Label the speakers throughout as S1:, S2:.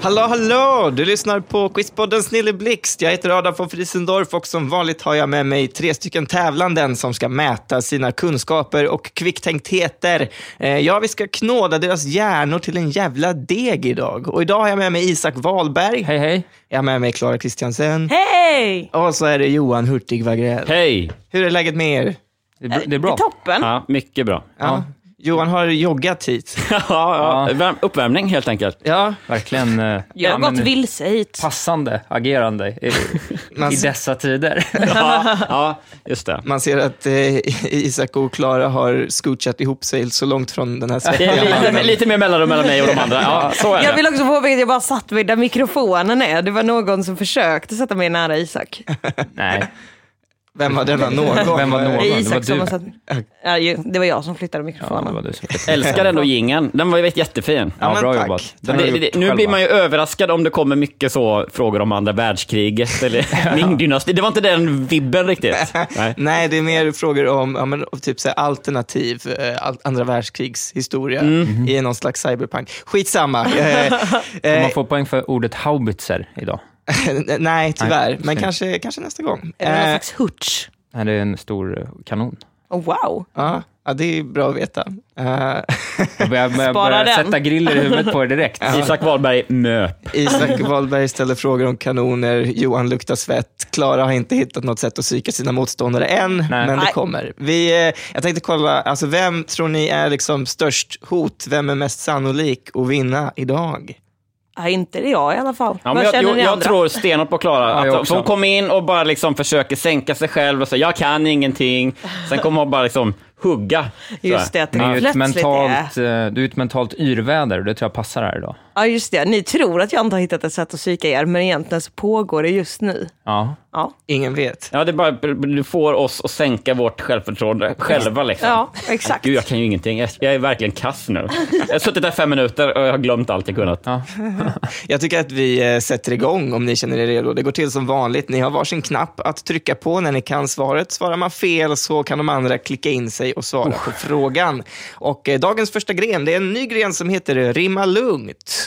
S1: Hallå, hallå! Du lyssnar på Quizpodden Snilleblixt. Jag heter Adam von Friesendorf och som vanligt har jag med mig tre stycken tävlanden som ska mäta sina kunskaper och kvicktänktheter. Eh, ja, vi ska knåda deras hjärnor till en jävla deg idag. Och idag har jag med mig Isak Wahlberg.
S2: Hej, hej.
S1: Jag har med mig Klara Kristiansen.
S3: Hej!
S1: Och så är det Johan Hurtig Wagrell.
S2: Hej!
S1: Hur är läget med er?
S2: Det är, bra- det är bra.
S3: Eh, Det är toppen.
S2: Ja, mycket bra.
S1: Ja. Johan har joggat hit.
S2: ja, ja. Värm, uppvärmning helt enkelt.
S1: Ja,
S4: Verkligen eh,
S3: Jag har
S4: ja, men
S3: gått vilse hit.
S4: passande agerande i,
S1: man,
S4: i dessa tider.
S2: Ja, ja just det.
S1: man ser att eh, Isak och Klara har scoochat ihop sig så långt från den här
S2: Det är
S1: svettiga
S2: lite,
S1: mannen.
S2: lite mer mellanrum mellan mig och de andra. Ja, så är
S3: Jag
S2: det.
S3: vill också påpeka att jag bara satt vid där mikrofonen är. Det var någon som försökte sätta mig nära Isak.
S4: Nej,
S1: Vem var denna någon?
S4: Vem var någon?
S3: Det
S4: det
S3: är
S4: var
S3: Isak som
S4: du.
S3: har satt ja, ju- Det var jag som
S4: ja,
S3: flyttade
S4: det
S3: mikrofonen.
S4: var du som
S2: Älskar ändå jingeln. Den var ju vet, jättefin.
S1: Ja,
S4: Ja,
S1: men
S4: bra
S1: tack.
S4: jobbat. Den har
S2: Det,
S4: du
S2: det,
S4: gjort
S2: nu
S4: själv,
S2: blir
S4: va?
S2: man ju överraskad om det kommer mycket så frågor om andra världskriget eller Ming-dynasti. Det var inte den vibben riktigt. Nej.
S1: Nej, det är mer frågor om ja, men, om typ så här, alternativ eh, al- andra världskrigshistoria Mm-hmm. i någon slags cyberpunk. Skitsamma. Eh,
S4: Får
S1: eh,
S4: Man får poäng för ordet haubitser idag.
S1: nej, tyvärr. Men
S4: synd.
S1: kanske, kanske nästa gång.
S3: Är det
S1: Eh,
S3: någon slags hurts?
S4: Nej, det är en stor eh, kanon.
S3: Oh, wow.
S1: ja, ja, det är bra att veta. Eh,
S4: Jag börjar, börjar,
S3: Spara
S4: börjar
S3: den.
S4: sätta griller i huvudet på er direkt.
S2: Isak Wahlberg, MÖP.
S1: Isak Wahlberg ställer frågor om kanoner, Johan luktar svett, Klara har inte hittat något sätt att psyka sina motståndare än, men det
S3: Nej.
S1: kommer. Vi, eh, jag tänkte kolla, alltså vem tror ni är liksom störst hot? Vem är mest sannolik att vinna idag?
S3: Ja, inte det jag i alla fall.
S2: Ja, men
S3: Vad
S2: jag,
S3: känner
S2: jag,
S3: ni
S2: jag
S3: andra?
S2: tror stenhårt på Klara.
S4: Ja,
S2: Att
S4: jag
S2: hon-
S4: också.
S2: hon kommer in och bara liksom försöker sänka sig själv och säga jag kan ingenting. Sen kommer hon bara liksom hugga. Så
S3: Just
S2: här.
S3: det, att det
S4: Det är ju ett
S3: plötsligt är...
S4: mentalt, eh, du är ett mentalt yrväder och det tror jag passar här idag.
S3: Ja, just det. Ni tror att jag inte har hittat ett sätt att psyka er, men egentligen så pågår det just nu.
S4: Ja.
S3: Ja,
S1: Ingen vet.
S2: Ja, det är bara, du får oss att sänka vårt självförtroende själva. Liksom.
S3: ja exakt.
S2: Gud, jag kan ju ingenting. Jag- Jag är verkligen kass nu. Jag har suttit där fem minuter och jag har glömt allt jag kunnat.
S1: Jag tycker att vi eh, sätter igång om ni känner er redo. Det går till som vanligt. Ni har varsin knapp att trycka på när ni kan svaret. Svarar man fel så kan de andra klicka in sig och svara på frågan. Och eh, dagens första gren, det är en ny gren som heter Rimma lugnt.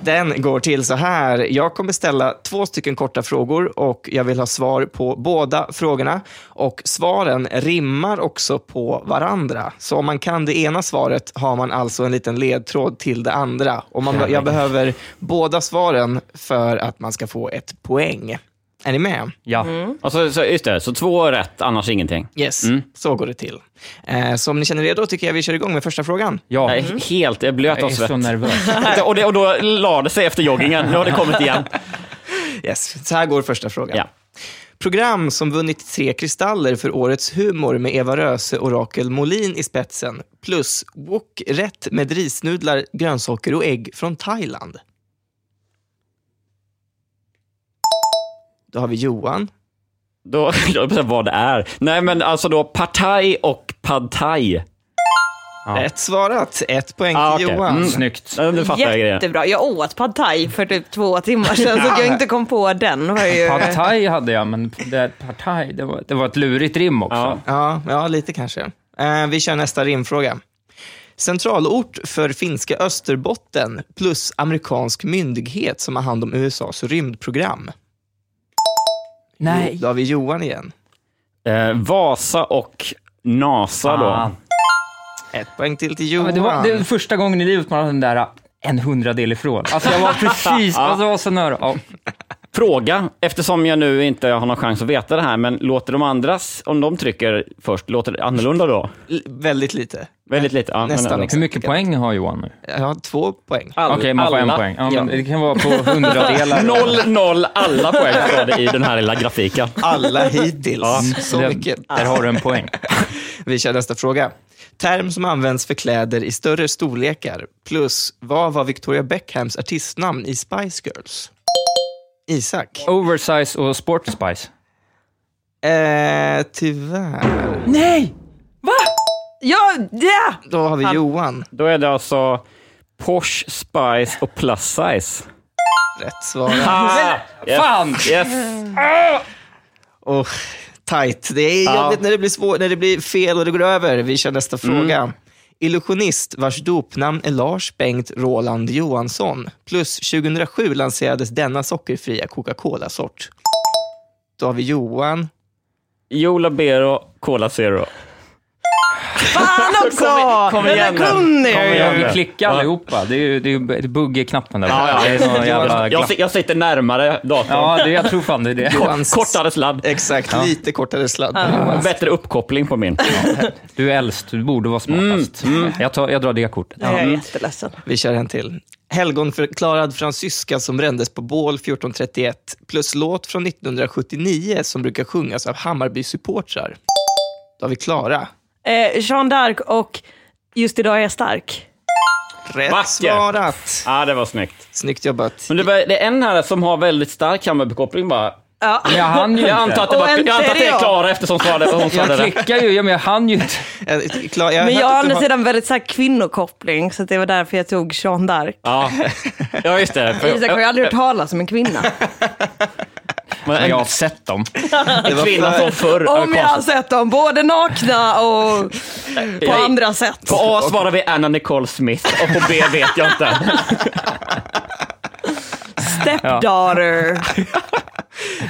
S1: Den går till så här. Jag kommer ställa två stycken korta frågor och jag vill ha svar på båda frågorna. Och svaren rimmar också på varandra. Så om man kan det ena svaret har man alltså en liten ledtråd till det andra. Och man, jag behöver båda svaren för att man ska få ett poäng. Är ni med?
S4: Ja.
S2: Mm. Och så, så, just det, så två rätt, annars ingenting.
S1: Yes, så går det till. Eh, så om ni känner redo tycker jag vi kör igång med första frågan.
S4: ja.
S2: Jag är helt, jag är blöt av
S4: Jag är
S2: svett.
S4: så nervös.
S2: Och, det, och då lade sig efter joggingen. Nu har det kommit igen.
S1: Yes, så här går första frågan.
S2: Ja.
S1: Program som vunnit tre kristaller för årets humor med Eva Röse och Rakel Molin i spetsen. Plus wok-rätt med risnudlar, grönsaker och ägg från Thailand. Då har vi Johan.
S2: Då, då jag vad det är. Nej, men alltså då partaj och pad thai.
S4: Ja.
S1: Rätt svarat. Ett poäng till
S2: Ah, okej.
S1: Johan.
S2: Mm.
S4: Snyggt.
S2: Ja, Nu fattar jag grejen.
S3: Jättebra. Jag åt pad thai för typ två timmar sedan, så att jag inte kom på den. Var ju...
S4: Pad thai hade jag, men det, pad thai, det, var, det var ett lurigt rim också.
S2: Ja.
S1: Ja, ja, lite kanske. Eh, vi kör nästa rimfråga. Centralort för finska Österbotten plus amerikansk myndighet som har hand om USAs rymdprogram.
S4: Nej.
S1: Då har vi Johan igen.
S2: Eh, Vasa och NASA då.
S4: Fan.
S1: Ett poäng till till
S4: Ja,
S1: Johan.
S4: men det, var, det var första gången i livet man hade den där ah, en hundradel ifrån. Alltså jag var precis, alltså jag var så nära. Ja.
S2: Fråga, eftersom jag nu inte har någon chans att veta det här, men låter de andras, om de trycker först, låter det annorlunda då?
S1: L- Väldigt lite.
S2: Väldigt lite. Ja,
S1: Nästan
S2: men-
S1: liksom.
S4: Hur mycket poäng har Johan nu?
S1: Jag har två poäng.
S2: All-
S4: Okej, man får en
S2: alla.
S4: poäng. Ja,
S1: Ja.
S4: men det kan vara på hundradelar.
S2: Noll, noll, alla poäng står det i den här lilla grafiken.
S1: Alla hittills. Så
S4: Det-
S1: mycket.
S4: Där har du en poäng.
S1: Vi kör nästa fråga. Term som används för kläder i större storlekar. Plus, vad var Victoria Beckhams artistnamn i Spice Girls? Isak.
S4: Oversize och sport spice.
S1: Eh, tyvärr.
S4: Nej!
S3: Ja, ja!
S1: Då har vi Johan.
S2: Då är det alltså Porsche, Spice och Plus Size.
S1: Rätt svar.
S2: Ah, yes,
S4: Fan!
S2: Yes.
S1: Och tight. Det är
S2: Ja.
S1: jobbigt när det blir svårt, när det blir fel och det går över. Vi kör nästa fråga. illusionist vars dopnamn är Lars Bengt Roland Johansson. Plus 2007 lanserades denna sockerfria Coca-Cola-sort. Då har vi Johan.
S2: Joe Labero, Cola Zero.
S3: Fan också!
S2: Kom- kom igen
S3: Den där
S2: nu.
S3: kunde
S2: Kom
S3: jag
S2: igen
S3: ju.
S2: nu.
S4: Vi klickar
S2: Ja.
S4: allihopa. Det är ju det är ju ett bugg i knappen där.
S2: Ja, ja.
S4: Det är någon jävla
S2: Jag,
S4: glapp.
S2: si- jag sitter närmare datorn.
S4: Ja, det, jag tror fan det är det.
S1: Johans-
S2: Kortare sladd.
S1: Exakt, lite kortare sladd.
S2: Bättre uppkoppling på min.
S4: Du är äldst, du borde vara smartast. Jag, tar, jag drar det kortet.
S3: Nej, Jag är jätteledsen.
S1: Vi kör en till. Helgonförklarad fransyska som brändes på bål 1431 plus låt från 1979 som brukar sjungas av Hammarby-supportrar. Då har vi Klara.
S3: Eh, Jean d'Arc och Just idag är jag stark.
S1: Rätt
S2: Vacker.
S1: svarat!
S2: Ja, det var snyggt.
S1: Snyggt jobbat.
S2: Men det, var, det är en här som har väldigt stark Hammarbykoppling bara.
S3: Ja.
S4: Men jag hann ju
S2: Jag antar
S4: inte.
S2: att det, var,
S3: Och en
S2: jag antar att det är
S3: tredje.
S2: Klara eftersom svarade, hon svarade
S4: Jag
S2: det.
S4: klickar ju, ja, men jag hann ju inte.
S1: Eh, Kla- jag har
S3: Men
S1: hört
S3: jag har
S1: att
S3: å
S1: du
S3: andra
S1: har-
S3: sidan väldigt stark kvinnokoppling, så att det var därför jag tog Jean d'Arc.
S2: Ja. ja, just det. För-
S3: Isak har ju aldrig hört talas om en kvinna.
S2: Men
S4: Men
S2: en,
S4: jag har sett dem.
S1: det var
S2: kvinna
S1: för-
S2: som förr.
S3: Om jag har sett dem, både nakna och på
S2: Jag-
S3: andra sätt.
S2: På A svarar vi Anna Nicole Smith och på B vet jag inte.
S3: Stepdaughter.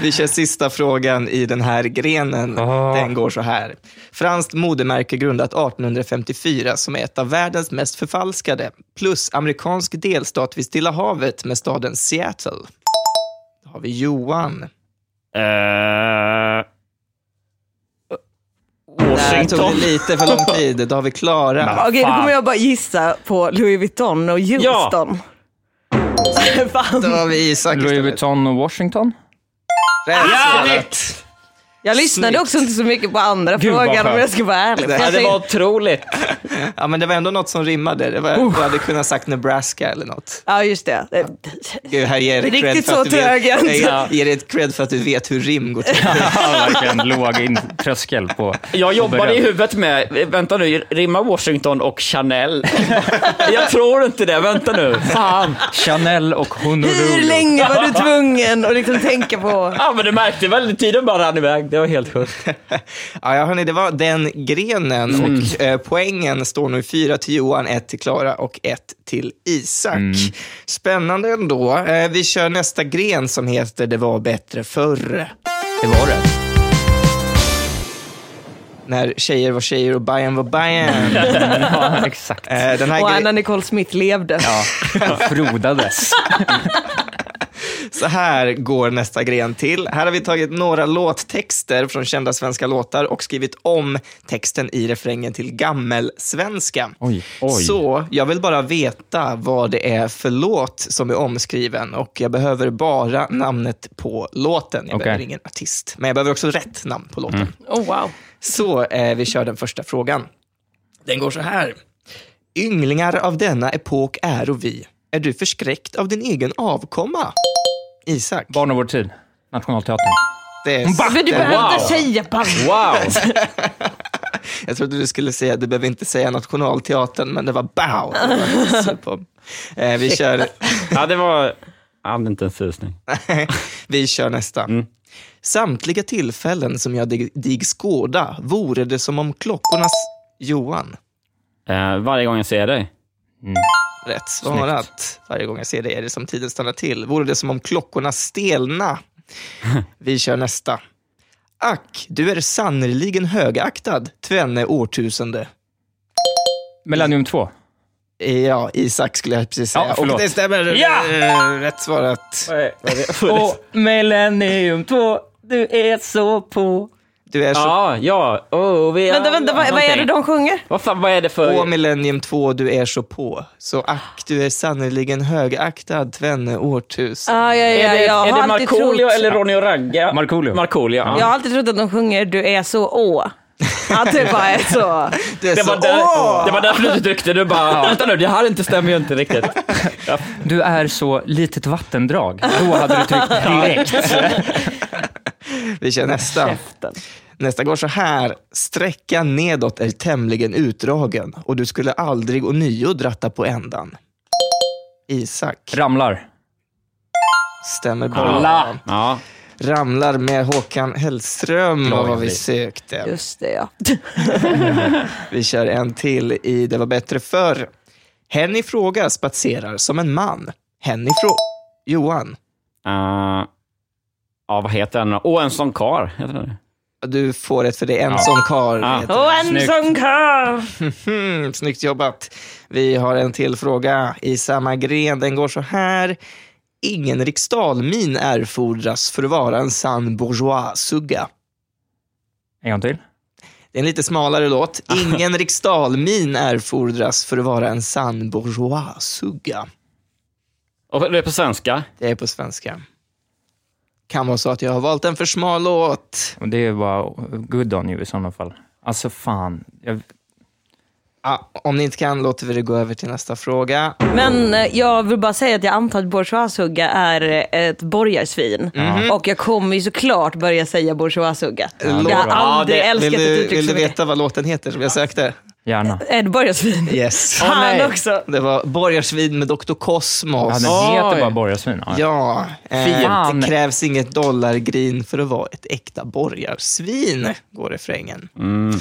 S1: Vi kör sista frågan i den här grenen.
S4: Ah.
S1: Den går så här. Franskt modemärke grundat 1854 som är ett av världens mest förfalskade. Plus amerikansk delstat vid Stilla havet med staden Seattle. Då har vi Johan.
S2: Eh,
S1: Där tog
S2: Washington.
S1: det lite för lång tid. Då har vi Klara.
S3: Okej, då
S2: Fan.
S3: kommer jag bara gissa på Louis Vuitton och Houston.
S1: Då
S3: Fan.
S1: har vi Isak
S4: Louis
S1: istället.
S4: Vuitton och Washington.
S1: Rätt svarat.
S2: Jävligt!
S3: Jag lyssnade
S1: Snyggt.
S3: också inte så mycket på andra
S4: Gud, vad
S3: frågan om
S4: skönt.
S3: jag ska vara ärlig.
S1: Nej,
S2: Ja,
S3: Jag
S2: det var
S3: tänkte-
S2: otroligt.
S1: Ja, men det var ändå något som rimmade. Det var, du hade kunnat sagt Nebraska eller något.
S3: Ja, just det.
S1: Gud, här ger jag dig
S3: Riktigt
S1: cred för
S3: så
S1: att du vet-
S3: trög jag inte.
S1: Nej, jag ger dig ett cred för att du vet hur rim går till.
S4: Ja, verkligen låg in tröskel på...
S2: Jag jobbade i
S4: beröm.
S2: huvudet med, vänta nu, rimma Washington och Chanel. Jag tror inte det, vänta nu. Fan.
S4: Chanel och Honolulu.
S3: Hur länge var du tvungen att liksom tänka på...
S2: Ja men du märkte väl, tiden bara rann iväg. Det var helt sjukt.
S1: Ja, ja, hörni, det var den grenen.
S3: Mm.
S1: Och, eh, poängen står nu fyra till Johan, ett till Klara och ett till Isak.
S3: Mm.
S1: Spännande ändå. Eh, vi kör nästa gren som heter Det var bättre förr.
S4: Det var det.
S1: När tjejer var tjejer och Bajen var Bajen.
S4: Ja, exakt.
S1: Eh, den här
S3: Och
S1: gre-
S3: Anna Nicole Smith levde.
S4: Ja, frodades.
S1: Så här går nästa gren till. Här har vi tagit några låttexter från kända svenska låtar och skrivit om texten i refrängen till gammelsvenska.
S4: Oj, oj.
S1: Så jag vill bara veta vad det är för låt som är omskriven och jag behöver bara namnet på låten. Jag
S4: Okej.
S1: behöver ingen artist, men jag behöver också rätt namn på låten.
S3: Oh, wow.
S1: Så eh, vi kör den första frågan. Den går så här. Ynglingar av denna epok är och vi. Är du förskräckt av din egen avkomma? Isak.
S4: Barn av vår tid. Nationalteatern.
S1: Det är,
S3: Men du behöver inte säga bara...
S2: Wow.
S1: jag trodde du skulle säga, du behöver inte säga Nationalteatern, men det var bow. Det var så på. Eh, vi, kör,
S2: Ja det var, jag hade inte en susning.
S1: vi kör nästa. Samtliga tillfällen som jag dig, dig skåda vore det som om klockornas... Johan.
S2: Eh, varje gång jag ser dig.
S1: Rätt svarat. Varje gång jag ser dig är det som tiden stannar till. Vore det som om klockorna stelna. Vi kör nästa. Ack, du är sannerligen högaktad, tvenne årtusende.
S4: Millennium 2.
S1: Ja, Isak skulle jag precis säga.
S4: Ja, förlåt.
S1: och det stämmer.
S4: Ja!
S1: Eh, Rätt svarat.
S4: Och Millennium 2, du är så på.
S1: Du är så
S2: Ja, ja. Oh, vi
S3: Vänta, vänta, vad, vad är det de sjunger?
S2: Vad fan, vad är det för...
S1: på Millennium 2, du är så på. Så ack, du är sannerligen högaktad, tvenne årtusen.
S3: Ah, ja, ja,
S2: är det,
S3: jag,
S2: är
S3: har
S2: det
S3: alltid
S2: Markoolio
S3: trott,
S2: eller Ronny och Ragga?
S4: Markoolio.
S2: Markoolio, ja.
S3: jag har alltid trott att de sjunger Du är så å. Att det bara är så.
S1: Du är
S2: Det
S1: så
S2: var, där,
S1: åh!
S2: det var därför du inte tryckte, du bara vänta nu, det här inte stämmer ju inte riktigt. Ja,
S4: Du är så litet vattendrag. Då hade du tryckt direkt.
S1: Vi kör nästa. Nästa går så här. Sträckan nedåt är tämligen utdragen och du skulle aldrig ånyo dratta på ändan. Isak,
S4: Ramlar.
S1: stämmer bra.
S2: Kolla. ja.
S1: ramlar med Håkan Hellström var vad vi sökte.
S3: Just det, ja.
S1: Vi kör en till i Det var bättre förr. Hen i fråga spatserar som en man. Hen i fråga... Johan,
S2: Eh, ja, vad heter den? Åh, en sån kar heter den.
S1: du får ett för det. En sån karl.
S2: Ja. Ah.
S1: heter
S3: Och en
S4: Snyggt.
S3: som kan.
S1: Hmm, snyggt jobbat. Vi har en till fråga i samma gren. Den går så här. Ingen riksdalmin erfordras för att vara en sann bourgeois-sugga.
S4: En gång till.
S1: Det är en lite smalare låt. Ingen riksdalmin erfordras för att vara en sann bourgeois-sugga.
S2: Och det är på svenska.
S1: Det är på svenska. Kan vara så att jag har valt en för smal låt.
S4: Men Det är bara good on you i sådana fall. Alltså fan. Jag,
S1: Ja, om ni inte kan låter vi det gå över till nästa fråga.
S3: Men eh, jag vill bara säga att jag antar att bourgeoishugga är eh, ett borgarsvin.
S1: Mhm.
S3: Och jag kommer ju såklart börja säga bourgeoishugga.
S1: Låt-
S3: jag har aldrig
S2: Ja, det-
S1: Vill
S3: älskat ett
S1: du,
S3: uttryck
S1: vill
S3: så
S1: du
S3: mycket.
S1: veta vad låten heter som jag sökte?
S4: gärna.
S3: Ett borgarsvin.
S1: Yes.
S3: Fan
S2: nej.
S3: också.
S1: Alltså, Det var Borgarsvin med Dr. Cosmos.
S4: Ja,
S1: Ja,
S4: den heter
S2: Oj.
S4: bara borgarsvin. Ja.
S1: eh,
S4: Fan.
S1: det krävs inget dollargrin för att vara ett äkta borgarsvin, går refrängen.
S4: Mm.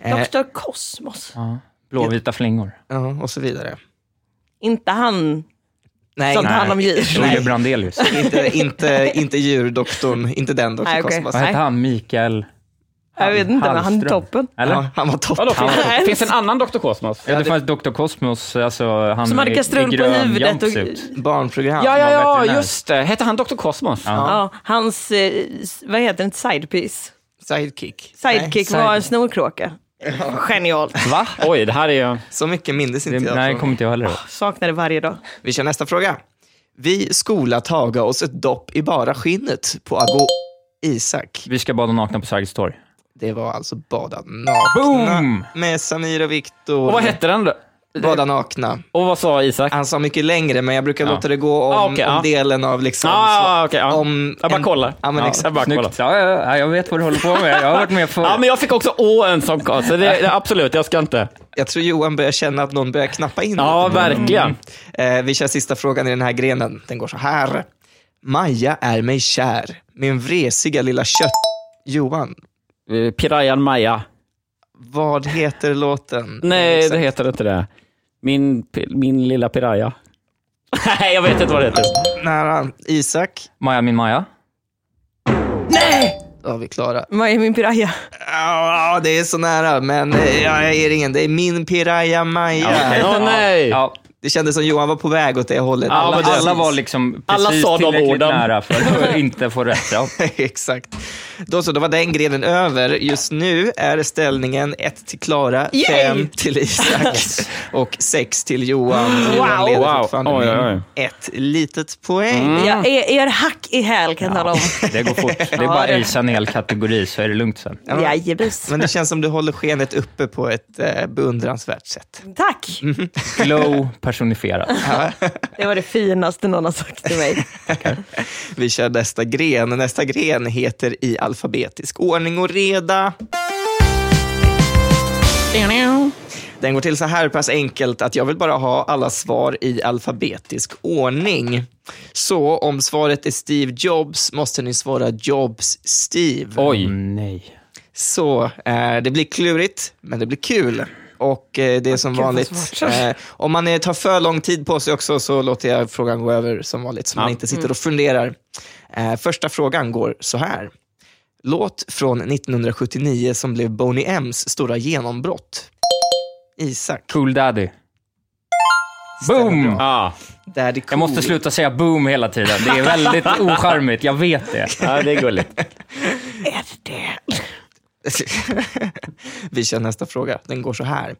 S1: Eh,
S3: Dr. Kosmos.
S4: Ja. Blåvita flingor.
S1: ja, och så vidare.
S3: Inte han
S1: Nej,
S3: som tar
S1: nej.
S3: hand om djur.
S4: Roger Brandelius.
S1: inte, inte, inte djurdoktorn, inte den Dr.
S3: Nej, okej.
S1: Cosmos.
S4: Vad hette han? Mikael?
S3: Jag vet inte, men han är
S4: Hallström. Mm,
S3: toppen.
S4: Eller?
S1: Ja, han var topp.
S2: Vadå,
S4: Ja.
S2: finns, det- finns det en annan Dr. Kosmos?
S4: Ja, det fanns Dr. Cosmos, alltså han
S3: Som hade
S4: i- i
S3: kastrull på
S4: grön
S3: huvudet och-
S4: jumpsuit.
S1: Barnprogram.
S2: Ja,
S4: var
S2: ja, ja,
S4: veterinär.
S2: just det. Hette han Dr. Kosmos?
S3: Ja. hans, eh, s- vad heter det, sidepiece?
S1: Sidekick. Nej,
S3: Sidekick
S1: side-
S3: var en snorkråka. Genialt.
S2: Va? Oj, det här är ju...
S1: Så mycket mindes
S4: Det,
S1: inte jag.
S4: nej,
S1: från-
S4: kommer inte jag heller ihåg.
S3: Saknar det varje dag.
S1: Vi kör nästa fråga. Vi skola taga oss ett dopp i bara skinnet på Ago Isak.
S4: Vi ska bada nakna på Sergels torg.
S1: Det var alltså Bada nakna
S4: Boom!
S1: med Samir och Viktor.
S2: Och vad hette den då?
S1: Bada nakna.
S2: Och vad sa Isak?
S1: Han sa mycket längre, men jag brukar låta det gå om,
S2: Ah, okej,
S1: om
S2: ja.
S1: delen av liksom...
S2: Ah, okej, ja.
S1: om
S2: jag bara
S1: en-
S2: kollar.
S1: Ja, men exakt.
S2: jag bara kollar.
S4: Snyggt. Ja, ja, ja, jag vet vad du håller på med. Jag har varit med förr.
S2: Ja, men jag fick också å en sån karl, så det, absolut, jag ska inte.
S1: Jag tror Johan börjar känna att någon börjar knappa in.
S2: Ja,
S1: lite på honom.
S2: verkligen.
S1: Eh, vi kör sista frågan i den här grenen. Den går så här. Maja är mig kär, min vresiga lilla kött... Johan,
S2: Eh, Pirayan Maya.
S1: vad heter låten?
S2: Nej, det heter inte det. Min, pi- min lilla piraya. Nej, jag vet inte vad det heter.
S1: Nära. Isak,
S4: Maja, min Maja.
S1: då har vi Klara.
S3: Vad är min piraya?
S1: Ja, det är så nära, men eh, jag ger ingen. Det är min piraya Maja.
S2: Åh nej!
S4: Ja,
S1: Det kändes som Johan var på väg åt det hållet.
S2: Ja,
S4: alla,
S2: men det-
S4: alla var liksom
S2: Alla
S4: precis
S2: sa de
S4: tillräckligt
S2: orden.
S4: nära för att inte få rätt. Ja.
S1: Exakt. Då så, då var den grenen över. Just nu är ställningen 1 till Klara,
S3: Yay!
S1: 5 till Isak och 6 till Johan. Johan leder
S2: Wow.
S1: fortfarande
S2: Oj, oj,
S1: med
S2: oj. Mm.
S1: ett litet poäng.
S3: Ja, er, er hack i häl kan jag tala om.
S4: Det går fort. Det är bara att isa en hel kategori så är det lugnt sen.
S1: men-
S3: Jajebus.
S1: Men det känns som du håller skenet uppe på ett eh, beundransvärt sätt.
S3: Tack.
S4: Glow personifierat.
S3: Det var det finaste någon har sagt till mig.
S1: Vi kör nästa gren. Nästa gren heter i alfabetisk ordning och reda. Den går till så här pass enkelt att jag vill bara ha alla svar i alfabetisk ordning. Så om svaret är Steve Jobs måste ni svara Jobs Steve.
S2: Oj.
S4: Nej.
S1: Så eh, det blir klurigt, men det blir kul. Och eh, det är som
S3: vad
S1: vanligt,
S3: svårt.
S1: eh, om man eh, tar för lång tid på sig också så låter jag frågan gå över som vanligt så man
S2: Ja. Mm.
S1: inte sitter och funderar. Eh, första frågan går så här. Låt från 1979 som blev Boney M's stora genombrott. Isak.
S4: Cool daddy. Boom!
S2: Ja,
S1: Daddy cool.
S4: Jag måste sluta säga boom hela tiden. Det är väldigt ocharmigt, jag vet det.
S2: ja, det är gulligt.
S3: Är det?
S1: Vi kör nästa fråga. Den går så här.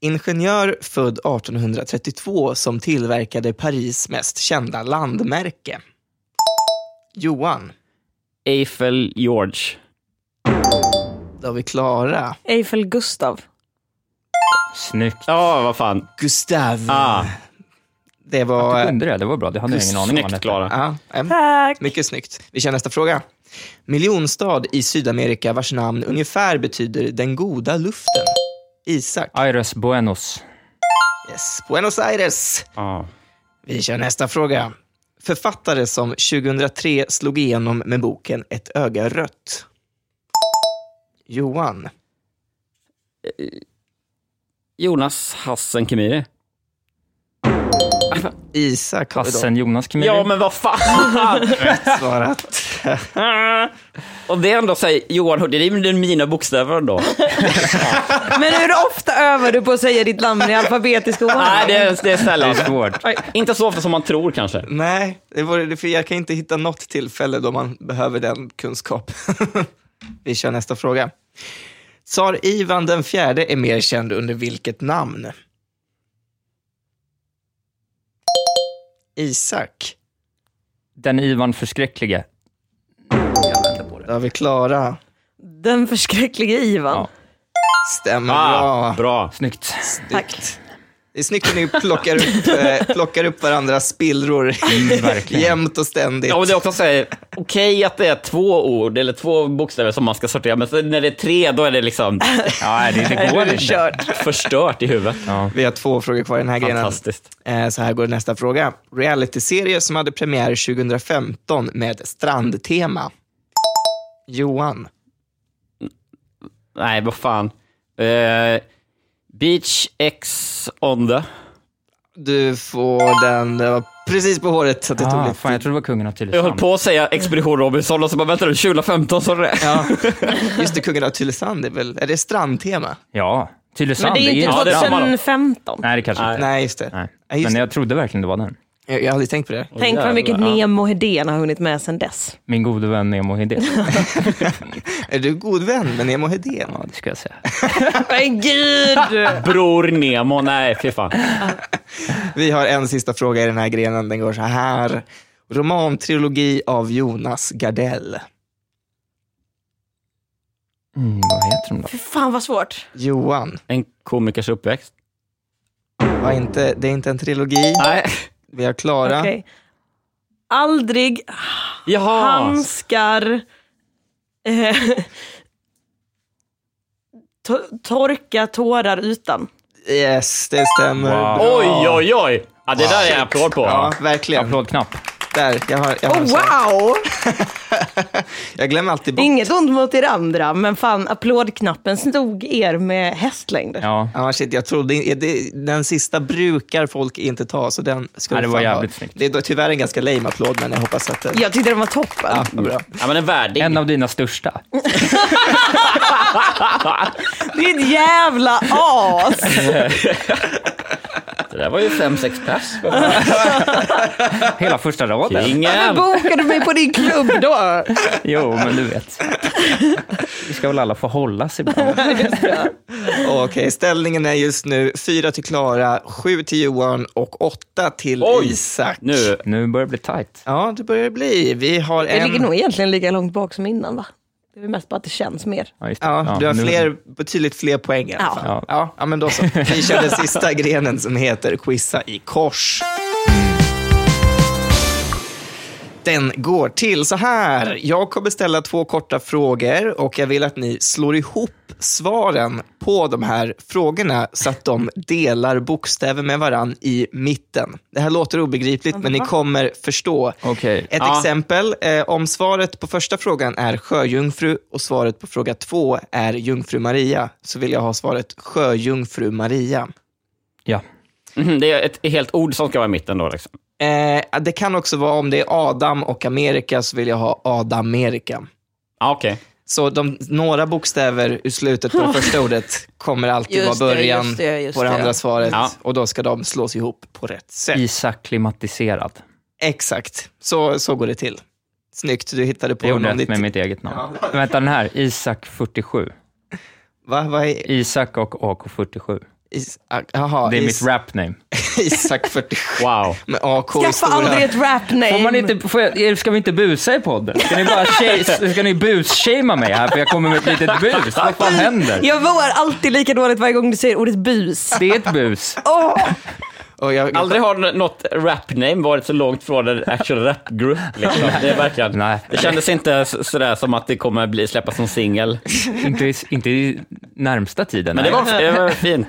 S1: Ingenjör född 1832 som tillverkade Paris mest kända landmärke. Johan,
S2: Eiffel George.
S1: då har vi Klara.
S3: Eiffel Gustav.
S4: Snyggt.
S2: Ja, vad fan.
S1: Gustav.
S2: Ah,
S1: Det
S4: Du
S1: var... eh,
S4: kunde det, det var bra. Det hade jag ingen aning om. vad
S2: snyggt,
S4: det hette.
S2: Klara.
S1: Ja, em,
S3: Tack.
S1: mycket snyggt. Vi kör nästa fråga. Miljonstad i Sydamerika vars namn ungefär betyder den goda luften. Isak.
S4: Aires Buenos.
S1: Yes. Buenos Aires.
S2: Ja.
S1: Vi kör nästa fråga. Författare som 2003 slog igenom med boken Ett öga rött. Johan.
S2: Jonas Hassen Kemiri.
S1: Isak har idag
S4: Hassen Jonas Kemiri.
S2: Ja, men vad fan!
S1: svarat.
S2: Och det är ändå säger Johan Hurtig, det är mina bokstäver då.
S3: Men hur ofta övar du på att säga ditt namn i alfabetisk ordning?
S2: Nej, det är, det är sällan.
S4: svårt.
S2: Oj, Inte så ofta som man tror kanske.
S1: Nej, det var, det- för jag kan inte hitta något tillfälle då man behöver den kunskapen. Vi kör nästa fråga. Tsar Ivan den fjärde är mer känd under vilket namn? Isak.
S4: Den Ivan Förskräcklige.
S1: Då har vi Klara.
S3: Den förskräckliga Ivan.
S4: Ja.
S1: Stämmer
S2: Ah,
S1: bra.
S2: bra.
S4: Snyggt.
S3: Tack.
S1: Det är snyggt när ni plockar upp, eh, plockar upp varandras spillror
S4: verkligen.
S1: jämt och ständigt.
S2: Mm, Ja, men det är också säger okej att det är två ord eller två bokstäver som man ska sortera, men sen när det är tre då är det liksom
S4: Ja, det, det går inte.
S3: Kört.
S2: förstört i huvudet.
S4: Ja.
S1: Vi har två frågor kvar i den här grenen.
S2: Fantastiskt.
S1: Eh, Så här går nästa fråga. Realityserie som hade premiär 2015 med strandtema. Johan.
S2: Nej, vad fan. Eh, beach X on the...
S1: Du får den... Det var precis på håret att det tog
S4: Ah,
S1: lite.
S4: fan, jag trodde det var kungen av
S2: Jag höll
S4: Tylösand.
S2: på att säga Expedition Robinson och så bara, vänta nu, 2015 så är det.
S1: Ja. Just det, Kungen av Tylösand är väl... Är det strandtema?
S4: Ja,
S3: Men
S4: Tylösand.
S3: det är ju
S2: Ja,
S3: inte
S2: det är samma då.
S3: 2015.
S4: Nej, det kanske
S2: Nej.
S4: inte
S1: Nej, just det.
S4: Nej.
S1: Nej, just
S4: Men jag trodde verkligen det var den.
S1: Jag, jag har aldrig tänkt på det.
S3: Tänk vad mycket
S2: Jävlar, ja.
S3: Nemo Hedén har hunnit med sedan dess.
S4: Min gode vän Nemo Hedén.
S1: Är du god vän med Nemo Hedén?
S4: Ja, det ska jag säga.
S3: Men gud!
S2: Bror Nemo, nej fy fan.
S1: Vi har en sista fråga i den här grenen. Den går så här. Romantrilogi av Jonas Gardell.
S4: Mm, vad heter de då?
S3: Fy fan vad svårt.
S1: Johan,
S2: En komikers uppväxt.
S1: var inte, det är inte en trilogi.
S2: Nej.
S1: Vi har Klara.
S3: Okej. Aldrig
S2: Jaha.
S3: handskar eh, to- torka tårar utan.
S1: Yes, det stämmer.
S4: Wow.
S1: Bra.
S2: Oj, oj, oj. Ja, det där är jag applåd på.
S1: Ja, verkligen.
S4: Applådknapp.
S1: Där, jag har, jag, har en sån.
S3: Oh, wow!
S1: jag glömmer alltid bort.
S3: Inget ont mot er andra, men fan applådknappen snod er med hästlängder.
S4: Ja.
S1: Ja, shit, jag trodde in, det, den sista brukar folk inte ta, så den ska
S4: Ja,
S1: du
S4: det var
S1: fan ha.
S4: jävligt snyggt.
S1: Det är då tyvärr en ganska lame applåd, men jag hoppas att det...
S3: Jag tyckte den var toppen.
S1: Ja, vad bra.
S2: Ja, men en värdig.
S4: En av dina största.
S3: Ditt jävla as!
S2: Det där var ju fem, sex pers.
S4: Hela första raden.
S3: Varför
S2: Ingen.
S3: bokade du mig på din klubb då?
S4: Jo, men du vet. Vi ska väl alla få hållas ibland.
S1: Okej, ställningen är just nu fyra till Klara, sju till Johan och åtta till
S2: Oj.
S1: Isak.
S2: Nu.
S4: Nu börjar det bli tajt.
S1: Ja, det börjar det bli. Vi har
S3: Jag
S1: en...
S3: ligger nog egentligen lika långt bak som innan va? Det är väl mest bara att det känns mer.
S4: Ja, just det.
S1: Ja, du har
S4: nu-
S1: fler, betydligt fler poäng i alla
S3: Ja.
S1: fall.
S4: Ja.
S1: Ja, ja, men då så. Vi kör den sista grenen som heter Quizza i kors. Den går till så här. Jag kommer ställa två korta frågor och jag vill att ni slår ihop svaren på de här frågorna så att de delar bokstäver med varann i mitten. Det här låter obegripligt, men ni kommer förstå.
S4: Okej.
S1: Ett
S2: Ja.
S1: exempel, eh, om svaret på första frågan är sjöjungfru och svaret på fråga två är jungfru Maria, så vill jag ha svaret sjöjungfru Maria.
S4: Ja.
S2: Mhm, Det är ett helt ord som ska vara i mitten då. Liksom.
S1: Eh, det kan också vara om det är Adam och Amerika, så vill jag ha Adamerika.
S2: Ah, Okej.
S1: Så de, några bokstäver ur slutet på det första ordet kommer alltid
S3: Just
S1: vara
S3: det,
S1: början
S3: just det, just
S1: på det
S3: det.
S1: andra svaret.
S2: Ja.
S1: Och då ska de slås ihop på rätt sätt.
S4: Isak klimatiserad.
S1: Exakt, så, så går det till. Snyggt, du hittade på
S4: Jag gjorde
S1: någon
S4: rätt med
S1: ditt...
S4: mitt eget namn. Vänta, den här. Isak 47.
S1: Va, vad är...
S4: Isak och AK47.
S1: Is... Aha,
S4: Det är
S1: is...
S4: mitt rap name.
S1: Isak 47.
S2: Wow.
S1: Med AK i
S3: Skaffa
S1: stora.
S3: aldrig ett rap-name!
S4: Får man inte, får jag, er- ska vi inte busa i podden? Ska ni bara tjej- ska ni bus-shamea mig här för jag kommer med ett litet bus? Vad fan händer?
S3: Jag mår alltid lika dåligt varje gång du säger ordet bus.
S4: Det är ett bus.
S3: Åh!
S1: Och jag,
S2: Aldrig har n- något rap-name varit så långt från en actual rap-group. Liksom. Det, är verkligen,
S4: Nej.
S2: det kändes inte s- sådär som att det kommer bli släppas som singel.
S4: Inte, i- inte i närmsta tiden.
S2: Men det
S4: Nej.
S2: var, det var fint.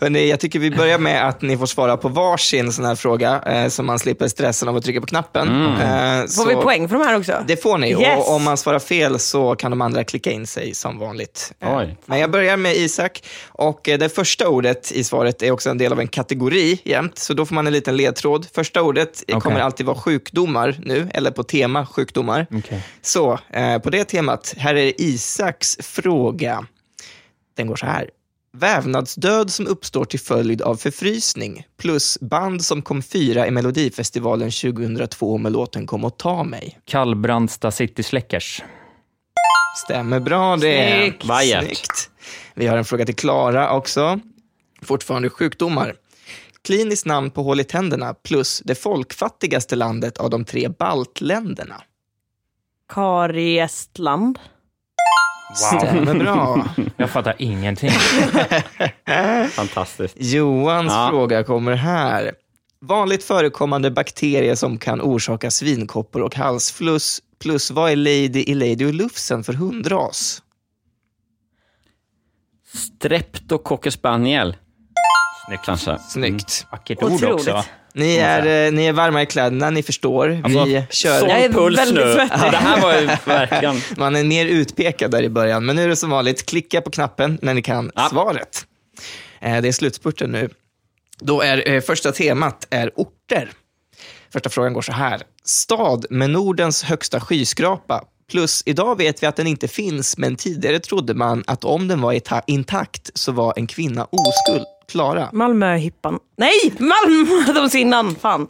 S1: Hörrni, jag tycker vi börjar med att ni får svara på varsin sån här fråga eh, så man slipper stressen av att trycka på knappen. Eh,
S3: Får
S1: så-
S3: vi poäng för de här också?
S1: Det får ni.
S3: Yes.
S1: Och om man svarar fel så kan de andra klicka in sig som vanligt. Eh,
S2: Oj.
S1: Men jag börjar med Isak. Och eh, det första ordet i svaret är också en del av en kategori jämt. Så då får man en liten ledtråd. Första ordet eh,
S4: Okej.
S1: kommer alltid vara sjukdomar nu, eller på tema sjukdomar.
S4: Okej.
S1: Så eh, på det temat, här är Isaks fråga. Den går så här. Vävnadsdöd som uppstår till följd av förfrysning plus band som kom fyra i Melodifestivalen 2002 med låten Kom och ta mig.
S4: Kallbrandsta City Släckers.
S1: Stämmer bra det.
S3: Snyggt.
S2: Vajert.
S1: Snyggt. Vi har en fråga till Klara också. Fortfarande sjukdomar. Kliniskt namn på hål i tänderna plus det folkfattigaste landet av de tre baltländerna.
S3: Kari Estland.
S1: Stämmer bra.
S4: Jag fattar ingenting.
S2: Fantastiskt.
S1: Johans
S2: Ja.
S1: fråga kommer här. Vanligt förekommande bakterier som kan orsaka svinkoppor och halsfluss. Plus, vad är Lady i Lady och Lufsen för hundras?
S2: Streptococcus spaniel. Snyggt. Kanske.
S1: Snyggt.
S4: Vackert ord
S3: Otroligt.
S4: också. va?
S1: Ni, är, eh, ni är varma i kläderna, ni förstår. Vi kör.
S3: Jag är
S2: Sån puls
S3: väldigt
S2: nu. Det
S3: svettig.
S2: här var ju verkligen...
S1: Man är mer utpekad där i början, men nu är det som vanligt. Klicka på knappen när ni kan
S2: Ja.
S1: svaret. Eh, Det är slutspurten nu. Då är eh, första temat är orter. Första frågan går så här. Stad med Nordens högsta skyskrapa. Plus, idag vet vi att den inte finns, men tidigare trodde man att om den var ita- intakt så var en kvinna oskuld. Klara.
S3: Malmö Hippan. Nej, Malmö Domsinnan. Fan.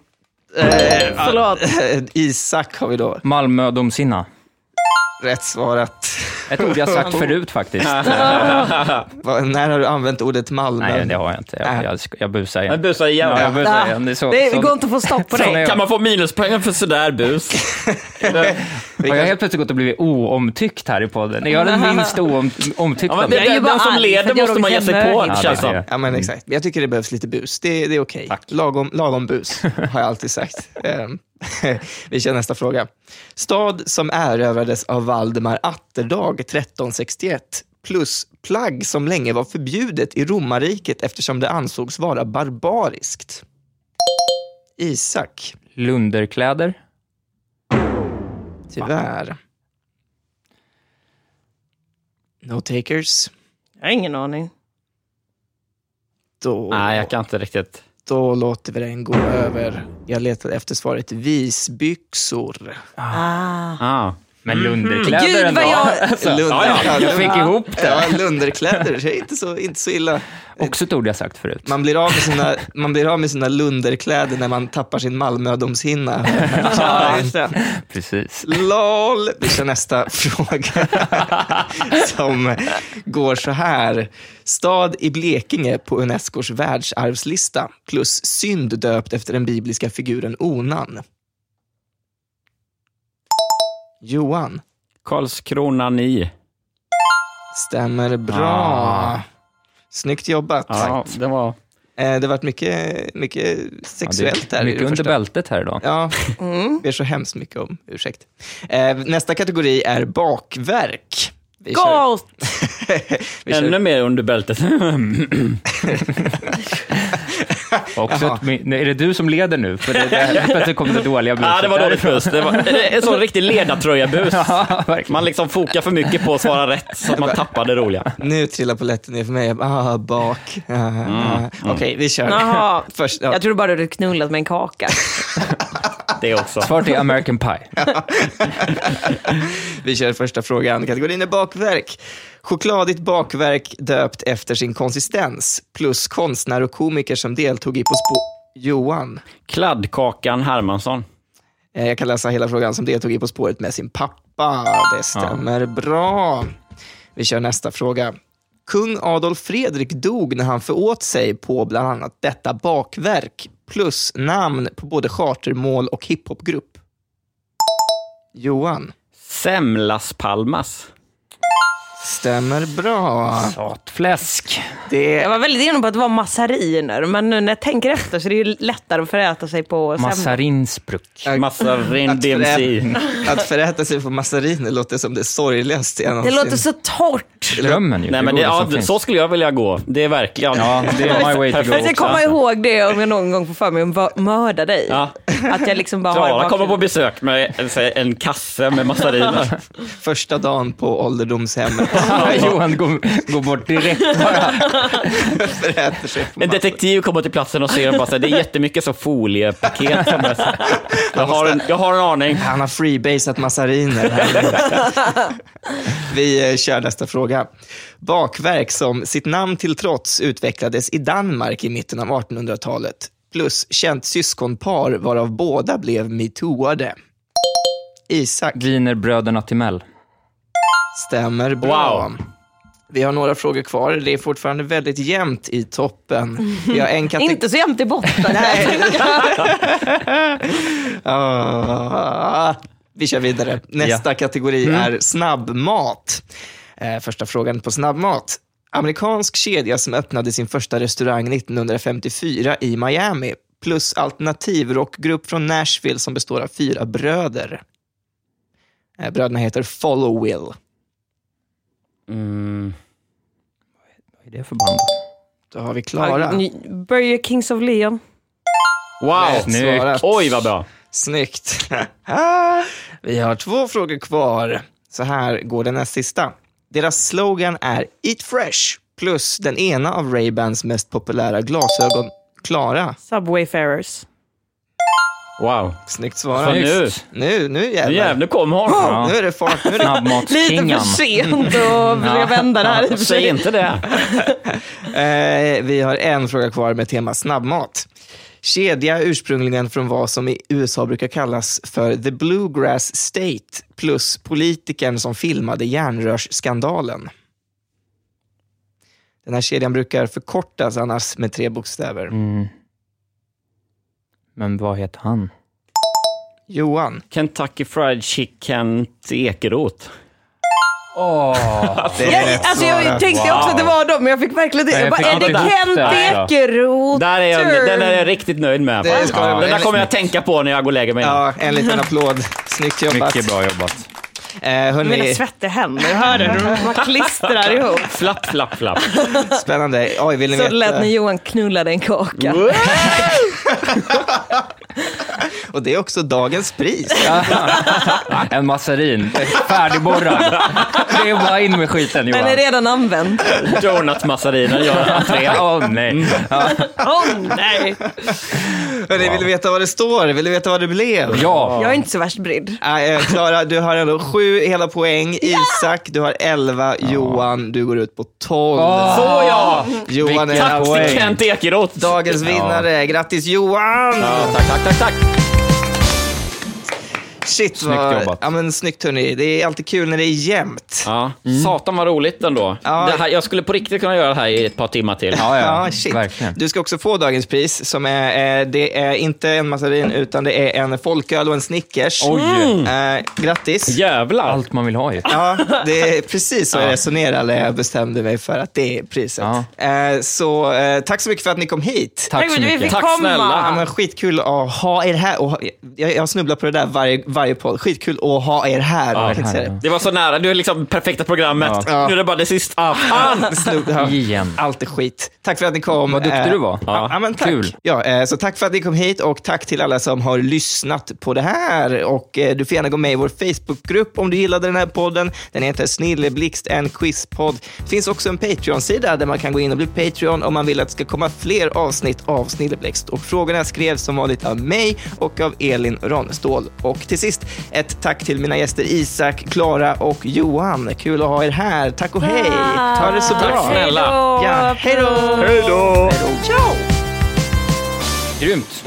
S4: Eh,
S3: Förlåt.
S1: Eh, Isak har vi då
S4: Malmö och Domsinna.
S1: rätt svarat.
S4: Ett ord jag sagt förut faktiskt.
S1: Va- När har du använt ordet Malmö?
S4: Nej, det har jag inte. Jag, jag, jag busar
S2: Jag
S4: igen.
S2: busar igen.
S4: Ja, jag busar igen. Det är så,
S3: Det
S4: så,
S3: går inte att få stopp på
S4: Sån är
S3: dig.
S4: jag.
S2: Kan man få minuspoäng för sådär bus?
S4: har jag helt plötsligt gått och blivit oomtyckt här i podden. Är jag den minst oom, omtyckta?
S2: Ja, men
S4: med?
S3: är
S2: det, alltså.
S3: ju bara
S2: den som
S3: arg för
S2: leder
S3: att jag
S2: måste man ge sig
S3: råkade
S2: på,
S3: känna dig.
S4: Ja, det
S2: känns
S4: är
S2: det
S4: det.
S1: Ja, men exakt. Jag tycker det behövs lite bus. Det, det är okej. Lagom, lagom bus, har jag alltid sagt. Ehm, Vi kör nästa fråga. Stad som erövrades av Valdemar Atterdag 1361 plus plagg som länge var förbjudet i romarriket eftersom det ansågs vara barbariskt. Isak,
S4: Lunderkläder?
S1: tyvärr. No takers.
S3: Jag har ingen aning.
S1: Då...
S2: Nej, jag kan inte riktigt.
S1: Då låter vi den gå över. Jag letade efter svaret visbyxor.
S3: Ah.
S2: Ah.
S4: Men lunderkläder
S3: Gud
S4: ändå.
S3: vad jag...
S1: Lunderkläder.
S4: Alltså, Jag fick ihop det.
S1: Ja, lunderkläder. Det är inte så, inte så illa.
S4: Också ett ord jag sagt förut.
S1: Man blir, av med sina, man blir av med sina lunderkläder när man tappar sin Malmödomshinna. Ja, just det.
S4: Precis.
S1: LOL! Vi kör nästa fråga som går så här. Stad i Blekinge på Unescos världsarvslista plus synd döpt efter den bibliska figuren Onan. Johan,
S2: Karlskrona 9.
S1: stämmer bra.
S4: Ah.
S1: Snyggt jobbat.
S2: Ja, det var...
S1: Eh, Det har varit mycket, mycket sexuellt här. i
S4: Mycket
S1: det
S4: under
S1: första.
S4: bältet här idag.
S1: Ja,
S3: Mm.
S1: ber så hemskt mycket om ursäkt. Eh, Nästa kategori är bakverk. Vi kör-
S3: Ghost!
S1: vi kör-
S2: Ännu mer under bältet.
S4: Mm. Också ett, min- är det du som leder nu? För det, det, plötsligt kom det dåliga busar.
S2: Ja, det var dåligt bus. Det var det är en sån riktig ledartröja-bus.
S4: Ja, verkligen.
S2: Man liksom fokar för mycket på att svara rätt, så att man tappar det roliga.
S1: Nu trillar polletten ner för mig. Jag bara, Ah, bak. Ah, ah.
S2: Mm,
S1: Okej, vi kör.
S3: Jaha.
S1: Först, ja.
S3: Jag trodde bara du hade knullat med en kaka.
S2: Det också.
S4: Svaret är American Pie.
S1: Vi kör första frågan. Kategorin är bakverk. Chokladigt bakverk döpt efter sin konsistens. Plus konstnär och komiker som deltog i På spå... Johan.
S2: Kladdkakan Hermansson.
S1: Eh, Jag kan läsa hela frågan som deltog i På spåret med sin pappa. Det stämmer bra. Vi kör nästa fråga. Kung Adolf Fredrik dog när han föråt sig på bland annat detta bakverk plus namn på både chartermål och hiphopgrupp. Johan.
S2: Semlas Palmas.
S1: stämmer bra.
S4: Satfläsk.
S1: Det
S3: Jag
S1: är
S3: var väldigt inne på att det var massariner, men nu när jag tänker efter så är det ju lättare att föräta sig på sämre.
S4: Massarinsbruck.
S2: Massa ren
S1: Att förä-
S2: DMC.
S1: att förräta sig på massariner låter som det sorgligaste jag
S3: Det
S1: någonsin...
S3: låter så torrt.
S4: Drömmen ju. liksom
S2: Nej,
S4: är
S2: men det,
S4: godaste
S2: ja,
S4: som
S2: d-
S4: finns.
S2: så skulle jag vilja gå. Det är verkligen...
S4: Ja, det är my way to go.
S2: Perfekt.
S3: Jag ska komma ihåg det om jag någon gång får för mig att va- mörda dig.
S2: Ja.
S3: Att jag liksom bara har
S2: Klara
S3: i
S2: kommer på
S3: bakgrunden.
S2: besök med en, så här, en kasse med massariner.
S1: Första dagen på ålderdomshemmet
S4: Johan går, går bort direkt.
S1: förräter sig på
S2: En detektiv kommer till platsen och ser och bara så här, det är jättemycket så foliepaket. Som är, så här. jag, har en, jag har en aning.
S1: Han har freebasat massariner. Vi eh, kör nästa fråga. Bakverk som sitt namn till trots utvecklades i Danmark i mitten av 1800-talet. Plus känt syskonpar varav båda blev metooade. Isak
S4: Wienerbröderna Timell.
S1: stämmer bra.
S2: Wow.
S1: Vi har några frågor kvar. Det är fortfarande väldigt jämnt i toppen. Vi har en kategori...
S3: Inte så jämnt i botten.
S1: Ah, vi kör vidare. Nästa kategori är snabbmat. Eh, första frågan på snabbmat. Amerikansk kedja som öppnade sin första restaurang 1954 i Miami plus alternativrockgrupp från Nashville som består av fyra bröder. Eh, bröderna heter Follow Will.
S2: Mm.
S4: Vad är det för band?
S1: Då har vi Klara.
S3: Burger Kings of Leon.
S2: Wow!
S1: Rätt svarat.
S2: Oj, vad bra.
S1: Snyggt. Vi har två frågor kvar. Så här går den näst sista. Deras slogan är Eat Fresh plus den ena av Ray-Bans mest populära glasögon, Klara.
S3: Subwayfarers.
S2: Wow.
S1: Snyggt
S2: Så
S1: svarat.
S2: nu,
S1: Nu, nu
S2: nu
S1: jävlar.
S2: jävlar kom hon.
S1: Nu är det fart. Nu är det...
S3: Lite
S4: Snabbmatskingan.
S3: för sent att vilja vända det här i och för
S2: Säg
S3: sig.
S2: inte det.
S1: Eh, vi har en fråga kvar med tema snabbmat. Kedja ursprungligen från vad som i USA brukar kallas för the bluegrass state plus politikern som filmade järnrörsskandalen. Den här kedjan brukar förkortas annars med tre bokstäver.
S4: Mm. Men vad heter han?
S1: Johan,
S2: Kentucky Fried Chicken Ekeroth.
S4: Åh!
S1: det är
S3: Jag,
S1: rätt
S3: alltså jag
S1: svarat.
S3: tänkte också att det var dem, men jag fick verkligen inte...
S4: Nej, jag
S3: Jag bara,
S4: fick
S3: är
S4: inte
S3: det
S4: ihop
S3: Kent
S4: det här, då.
S3: Ekeroth?
S2: Där är jag,
S3: Turn?
S2: den är jag riktigt nöjd med.
S1: Det ska
S2: Ja.
S1: du-
S2: Den där kommer jag att tänka på när jag går och lägger mig.
S1: Ja, en liten applåd. Snyggt jobbat.
S4: Mycket bra jobbat.
S1: Eh,
S3: Mina
S1: hörni,
S3: svettiga händer, hör du? De bara klistrar ihop.
S2: Flapp, flapp, flapp.
S1: spännande. Oj, vill ni
S3: Så
S1: veta?
S3: lät när Johan knullade en
S1: Mm,
S3: kaka.
S1: Och det är också dagens pris.
S4: En massarin. Färdigborrad. Det är bara in med skiten Johan.
S3: Den är redan använd.
S2: Donutmassariner gör entré.
S4: Åh nej.
S3: Mm. Åh nej!
S1: Hörni, vill ni veta vad det står? Vill ni veta vad det blev?
S4: Ja.
S3: Jag är inte så värst brydd.
S1: Nej, eh, Klara, du har ändå sju hela poäng. Isak, du har elva. Johan, du går ut på tolv.
S2: Så ja!
S1: Johan är
S4: vilken
S2: Tack
S1: alltså
S4: poäng.
S2: till Kent Ekeroth.
S1: dagens vinnare. Grattis Johan!
S2: Ja, tack, tack, tack, tack.
S1: Shit
S4: Snyggt
S1: vad...
S4: jobbat.
S1: Ja, men, snyggt hörni. Det är alltid kul när det är jämnt.
S2: Ja. Satan vad roligt ändå.
S1: Ja.
S2: Det här, jag skulle på riktigt kunna göra det här i ett par timmar till.
S4: Ja, ja.
S3: Ah,
S1: Ja, shit.
S4: Verkligen.
S1: Du ska också få dagens pris. Som är, eh, det är inte en massarin, utan det är en folköl och en Snickers.
S4: Oj.
S1: Eh, grattis.
S2: Jävlar.
S4: Allt man vill ha ju.
S1: Ja, det är precis så jag resonerade när jag bestämde mig för att det är priset. Eh, Så eh, tack så mycket för att ni kom hit.
S4: Tack så
S3: men Vi
S4: mycket.
S3: fick
S2: Tack
S3: komma.
S2: snälla.
S1: Ja, men skitkul att ha er här. Och, ha- jag, jag snubblar på det där varje, varje podd. Skitkul att ha er här. Ja,
S4: här,
S2: Det var så nära. Du är liksom perfekta programmet.
S1: Ja.
S2: Nu är det bara det sista. Ah! Fan!
S4: Igen.
S1: Allt är skit. Tack för att ni kom.
S4: Vad duktig
S1: Eh,
S4: du var.
S1: Ja, ja, men tack.
S4: Kul.
S1: Ja, eh, så tack för att ni kom hit och tack till alla som har lyssnat på det här. Och eh, du får gärna gå med i vår Facebookgrupp om du gillade den här podden. Den heter Snilleblixt en quizpodd. Det finns också en Patreon-sida där man kan gå in och bli Patreon om man vill att det ska komma fler avsnitt av Snilleblixt. Och frågorna skrevs som vanligt av mig och av Elin Ranestål. Och till sist, ett tack till mina gäster Isak, Klara och Johan. Kul att ha er här. Tack och hej. Ta det så bra.
S2: Tack snälla.
S3: Hej då.
S1: Ja, hej då.
S2: Hej då!
S1: Ciao.
S4: Grymt.